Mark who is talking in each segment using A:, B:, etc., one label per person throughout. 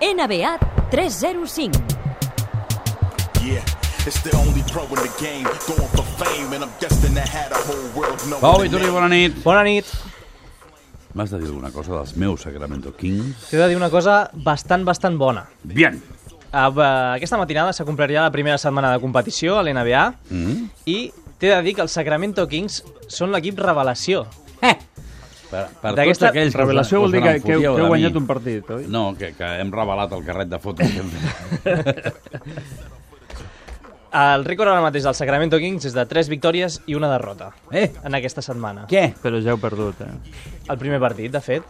A: NBA 305.
B: Yeah, it's the only pro in the game going for fame, and I'm destined to have the whole world know.
C: Pau
B: the
C: Vituri,
B: name.
C: bona nit.
D: Bona nit.
C: M'has de dir alguna cosa dels meus Sacramento Kings?
D: T'he de dir una cosa bastant, bastant bona.
C: Bien.
D: Ah, eh, Aquesta matinada s'ha complert ja la primera setmana de competició a l'NBA mm -hmm. i t'he de dir que els Sacramento Kings són l'equip revelació.
C: Eh! Per, per tots
D: D'aquesta
C: aquells... que us-
E: Revelació
C: us
E: vol dir que, que,
C: n'enfotíeu
E: que
C: de
E: heu guanyat
C: mi.
E: un partit, oi?
C: No, que, que hem revelat el carret de fotos que hem fet.
D: El rècord ara mateix del Sacramento Kings és de 3 victòries i una derrota
C: Eh,
D: en aquesta setmana.
C: què?
E: Però ja heu perdut, eh?
D: El primer partit, de fet.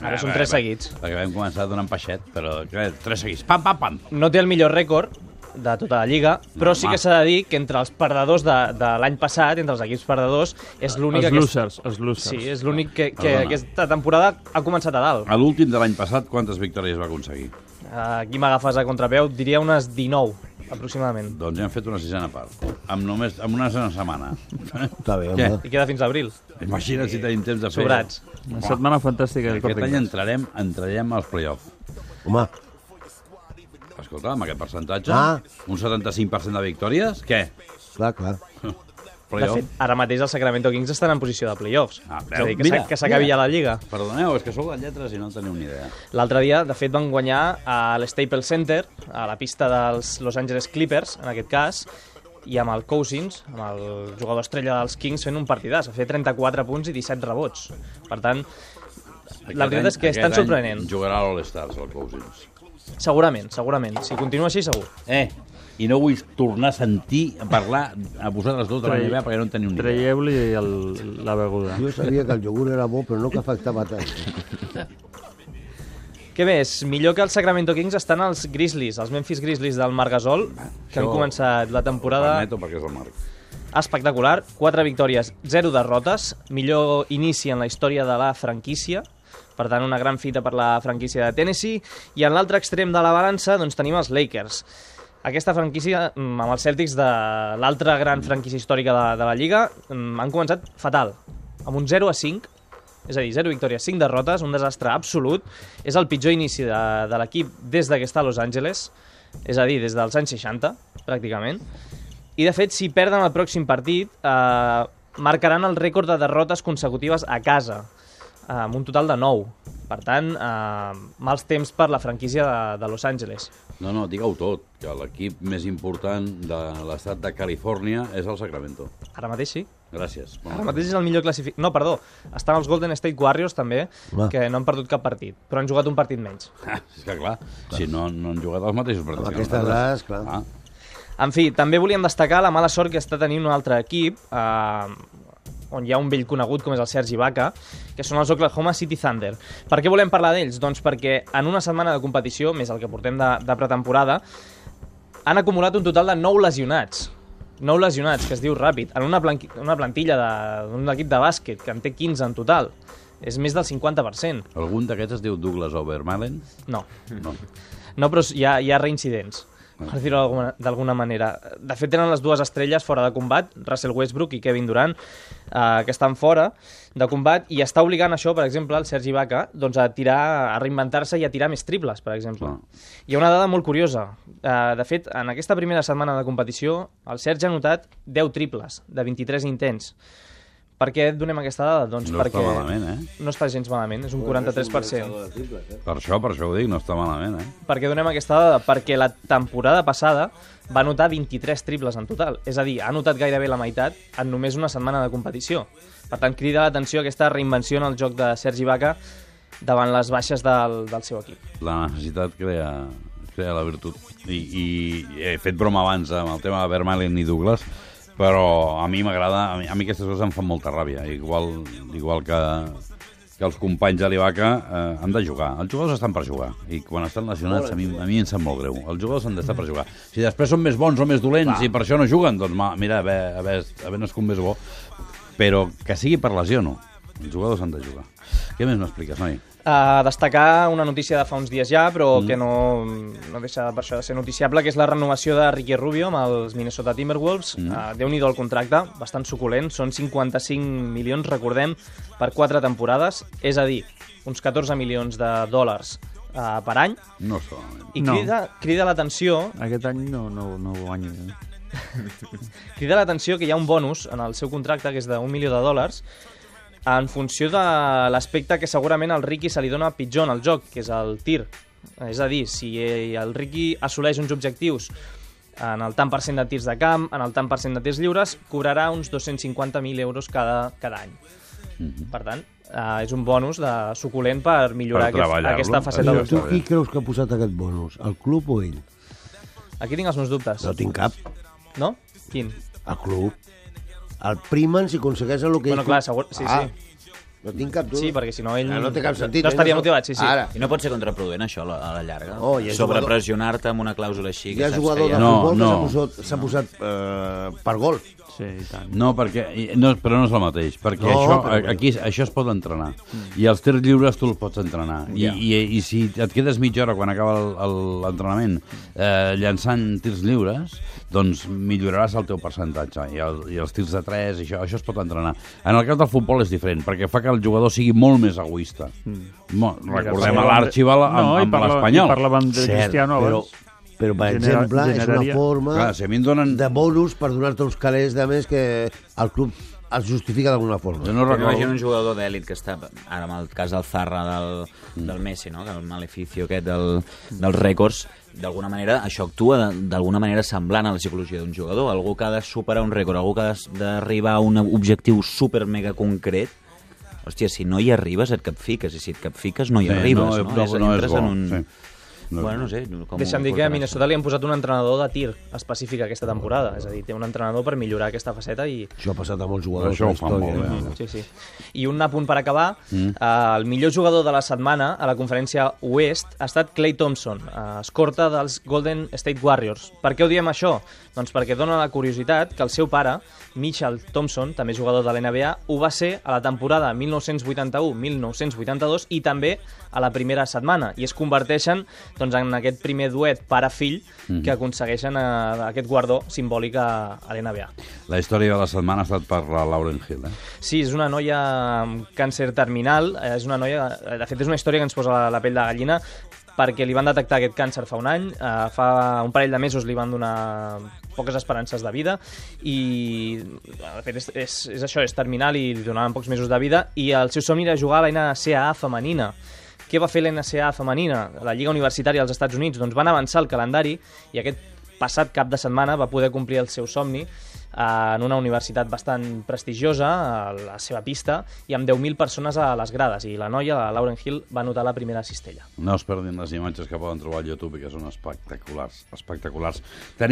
D: Ara
C: Ah,
D: són
C: va,
D: 3
C: va.
D: seguits.
C: Perquè vam començar donant peixet, però clar, tres seguits. Pam, pam, pam.
D: No té el millor rècord de tota la lliga, però sí
C: Home.
D: que s'ha de dir que entre els perdedors de, de l'any passat, entre els equips perdedors,
C: Ah,
D: és l'únic
E: Els
D: que...
E: losers, els losers.
D: Sí, és l'únic que, que
C: Perdona.
D: aquesta temporada ha començat a dalt.
C: A l'últim de l'any passat, quantes victòries va aconseguir?
D: Eh, Aquí m'agafes a contrapeu, diria unes 19, aproximadament.
C: Doncs ja hem fet una sisena part. Amb només amb una setmana.
F: Està bé,
C: Què?
F: home.
D: I queda fins a abril,
C: Imagina't si tenim temps de fer...
D: sobrats.
E: Una setmana fantàstica. del
C: Aquest any
E: Corinthians.
C: entrarem, entrarem als playoffs.
F: Home,
C: Escolta, amb aquest percentatge,
F: Ah.
C: un 75% de victòries, què?
F: clar, clar.
D: De
C: Playoff?
D: fet, ara mateix el Sacramento Kings estan en posició de playoffs.
C: Ah,
D: és a dir, que
C: mira,
D: s'ha- que s'acabi
C: mira.
D: ja la Lliga.
C: Perdoneu, és que sou de lletres i no en teniu ni idea.
D: L'altre dia, de fet, van guanyar a l'Staples Center, a la pista dels Los Angeles Clippers, en aquest cas, i amb el Cousins, amb el jugador estrella dels Kings, fent un partidàs. Va fer 34 punts i 17 rebots. Per tant, la veritat és que és tan sorprenent.
C: Jugarà a l'All-Stars, el Cousins.
D: Segurament, segurament. Si continua així, segur.
C: Eh, i no vull tornar a sentir a parlar a vosaltres dos de la
E: Trei-
C: NBA perquè no en teniu ni idea.
E: Traieu-li el- la beguda.
F: Jo sabia que el iogurt era bo, però no que afectava tant.
D: Què més? Millor que els Sacramento Kings estan els Grizzlies, els Memphis Grizzlies del Marc Gasol, que han
C: això-
D: començat la temporada
C: Permeto perquè és el Marc.
D: espectacular. 4 victòries, 0 derrotes, millor inici en la història de la franquícia, per tant, una gran fita per la franquícia de Tennessee. I en l'altre extrem de la balança doncs, tenim els Lakers. Aquesta franquícia, mm, amb els Celtics de l'altra gran franquícia històrica de, de la Lliga, mm, han començat fatal, amb un 0 a 5, és a dir, 0 victòries, 5 derrotes, un desastre absolut. És el pitjor inici de, de l'equip des de que està a Los Angeles, és a dir, des dels anys 60, pràcticament. I, de fet, si perden el pròxim partit, eh, marcaran el rècord de derrotes consecutives a casa, eh, amb un total de 9. Per tant, eh, mals temps per la franquícia de, de Los Angeles.
C: No, no, digue-ho tot, que l'equip més important de l'estat de Califòrnia és el Sacramento.
D: Ara mateix sí.
C: Gràcies.
F: Ah,
C: Bona
D: Ara
C: tarda.
D: mateix és el millor classificat. No, perdó. Estan els Golden State Warriors, també,
F: Home.
D: que no han perdut cap partit, però han jugat un partit menys.
C: Ah, és que clar, si no, no han jugat els mateixos partits.
F: Amb
C: que
F: aquestes
C: nosaltres.
F: dades, clar.
C: Ah,
D: En fi, també volíem destacar la mala sort que està tenint un altre equip, eh, on hi ha un vell conegut com és el Sergi Baca, que són els Oklahoma City Thunder. Per què volem parlar d'ells? Doncs perquè en una setmana de competició, més el que portem de, de pretemporada, han acumulat un total de 9 lesionats. 9 lesionats, que es diu ràpid, en una, planqui, una plantilla de- d'un equip de bàsquet que en té 15 en total. És més del 50%.
C: algun d'aquests es diu Douglas Overmalen?
D: No,
C: No.
D: no, però hi ha, hi ha reincidents,
C: Ah.
D: per dir-ho d'alguna- d'alguna manera. De fet, tenen les dues estrelles fora de combat, Russell Westbrook i Kevin Durant, eh, que estan fora de combat, i està obligant això, per exemple, el Sergi Baca doncs, a tirar a reinventar-se i a tirar més triples, per exemple.
C: Clar.
D: Hi ha una dada molt curiosa. Eh, de fet, en aquesta primera setmana de competició, el Sergi ha notat 10 triples de 23 intents. Per què et donem aquesta dada? Doncs
C: No
D: perquè
C: està malament, eh?
D: no està gens malament, és un 43%.
C: Per això, per això ho dic, no està malament, eh?
D: Per què donem aquesta dada? Perquè la temporada passada va anotar 23 triples en total. És a dir, ha anotat gairebé la meitat en només una setmana de competició. Per tant, crida l'atenció aquesta reinvenció en el joc de Sergi Baca davant les baixes del, del seu equip.
C: La necessitat crea, crea la virtut. I, I he fet broma abans amb el tema de Vermaelen i Douglas, però a mi m'agrada, a, mi- a mi aquestes coses em fan molta ràbia, igual, igual que, que els companys de l'Ivaca eh, han de jugar. Els jugadors estan per jugar, i quan estan lesionats a mi, a mi em sap molt greu. Els jugadors han d'estar per jugar. Si després són més bons o més dolents i per això no juguen, doncs ma, mira, a veure, a veure, a veure nascut més bo. Però que sigui per lesió, no. Els jugadors han de jugar. Què més m'expliques, noi?
D: A destacar una notícia de fa uns dies ja, però mm. que no, no deixa per això de ser noticiable, que és la renovació de Ricky Rubio amb els Minnesota Timberwolves. Mm. Uh, Déu-n'hi-do el contracte, bastant suculent. Són 55 milions, recordem, per quatre temporades. És a dir, uns 14 milions de dòlars eh, per any
C: No solament.
D: i
E: No.
D: crida, crida l'atenció
E: Aquest any no, no, no guanyo. eh?
D: crida l'atenció que hi ha un bonus en el seu contracte que és d'un milió de dòlars en funció de l'aspecte que segurament al Ricky se li dona pitjor en el joc, que és el tir. És a dir, si eh, el Ricky assoleix uns objectius en el tant per cent de tirs de camp, en el tant per cent de tirs lliures, cobrarà uns 250.000 euros cada, cada any. Per tant, eh, és un bonus de suculent per millorar
C: Per
D: aquest,
C: treballar-lo.
D: aquesta faceta
C: Allò
D: del
F: tu
C: està
D: joc.
C: bé.
F: qui creus que ha posat aquest bonus? El club o ell?
D: Aquí tinc els meus dubtes.
F: No tinc cap.
D: No? Quin?
F: El club. El primen, si aconsegueix el que...
D: Bueno,
F: ell-
D: clar, segur- sí,
F: ah,
D: sí.
F: No tinc cap dubte.
D: Sí, perquè si no ell...
F: Ah, no té cap sentit.
D: No estaria
F: ell
D: motivat, sí, sí.
F: Ara,
G: I no pot ser contraproduent, això, a la- a la llarga.
F: Oh, i és
G: Sobrepressionar-te amb una clàusula així.
F: hi ha
G: saps
F: jugador
G: que
F: de
G: ja-
C: No,
F: futbol
C: no.
F: que s'ha posat, s'ha posat eh, per gol.
E: Sí, i tant.
C: No, perquè, i- no, però no és el mateix, perquè
F: No,
C: això,
F: però-
C: a- aquí es- això es pot entrenar, i els tirs lliures tu els pots entrenar, I,
G: Ja.
C: i, i si et quedes mitja hora quan acaba el- el- l'entrenament eh, llançant tirs lliures, doncs milloraràs el teu percentatge, i, el, i els tirs de 3, això, això es pot entrenar. En el cas del futbol és diferent, perquè fa que el jugador sigui molt més egoista. Mo- Recordem a
E: parlàvem de-
C: l'Arxival amb,
E: No, i
C: amb
E: parla-
C: l'Espanyol.
E: i parlàvem de
C: Cert,
E: Cristiano
C: però-
E: abans.
F: Però, per
E: Genera-
F: exemple, és
E: generaria-
F: una forma
C: Clar, si a mi em donen...
F: de bonus per donar-te uns calés de més que el club els justifica d'alguna
C: Jo
F: forma.
C: no
G: Però
C: recordo...
G: imagina un jugador d'èlit que està, ara amb el cas del Zarra, del, del Messi, no? del maleficio aquest, del, dels rècords, d'alguna manera això actua de- d'alguna manera semblant a la psicologia d'un jugador. Algú que ha de superar un rècord, algú que ha de- d'arribar a un objectiu super mega concret, hòstia, si no hi arribes et capfiques, i si et capfiques no hi
C: Sí,
G: arribes.
C: no, no,
G: No, és,
C: no és
G: entres
C: bo,
G: en un...
C: sí. No és
G: Bueno,
C: bo.
G: no sé, com ho
D: Deixa'm dir que a
G: portaràs.
D: Minnesota li han posat un entrenador de tir específic aquesta temporada. És a dir, té un entrenador per millorar aquesta faceta i...
F: Això ha passat a molts jugadors.
C: Això ho
F: de la
C: fan
F: història,
C: molt bé.
F: eh?
D: Sí, sí. I un apunt per acabar. Mm. Eh, el millor jugador de la setmana a la conferència Oest ha estat Clay Thompson, eh, escorta dels Golden State Warriors. Per què ho diem això? Doncs perquè dona la curiositat que el seu pare, Mitchell Thompson, també jugador de l'NBA, ho va ser a la temporada 1981-1982 i també a la primera setmana. I es converteixen doncs, en aquest primer duet pare-fill mm. que aconsegueixen eh, aquest guardó simbòlic a, a l'NBA.
C: La història de la setmana ha estat per la Lauren Hill, eh?
D: Sí, és una noia amb càncer terminal, eh, és una noia... eh, De fet, és una història que ens posa la, la pell de gallina perquè li van detectar aquest càncer fa un any, eh, fa un parell de mesos li van donar poques esperances de vida i, de fet, és, és, és això, és terminal i li donaven pocs mesos de vida i el seu somni era jugar a la NCAA femenina. Què va fer la NCAA femenina? La Lliga Universitària dels Estats Units doncs van avançar el calendari i aquest passat cap de setmana va poder complir el seu somni eh, en una universitat bastant prestigiosa, a la seva pista, i amb 10.000 persones a les grades. I la noia, la Lauren Hill, va anotar la primera cistella.
C: No es perdin les imatges que poden trobar a YouTube, que són espectaculars, espectaculars. Tenim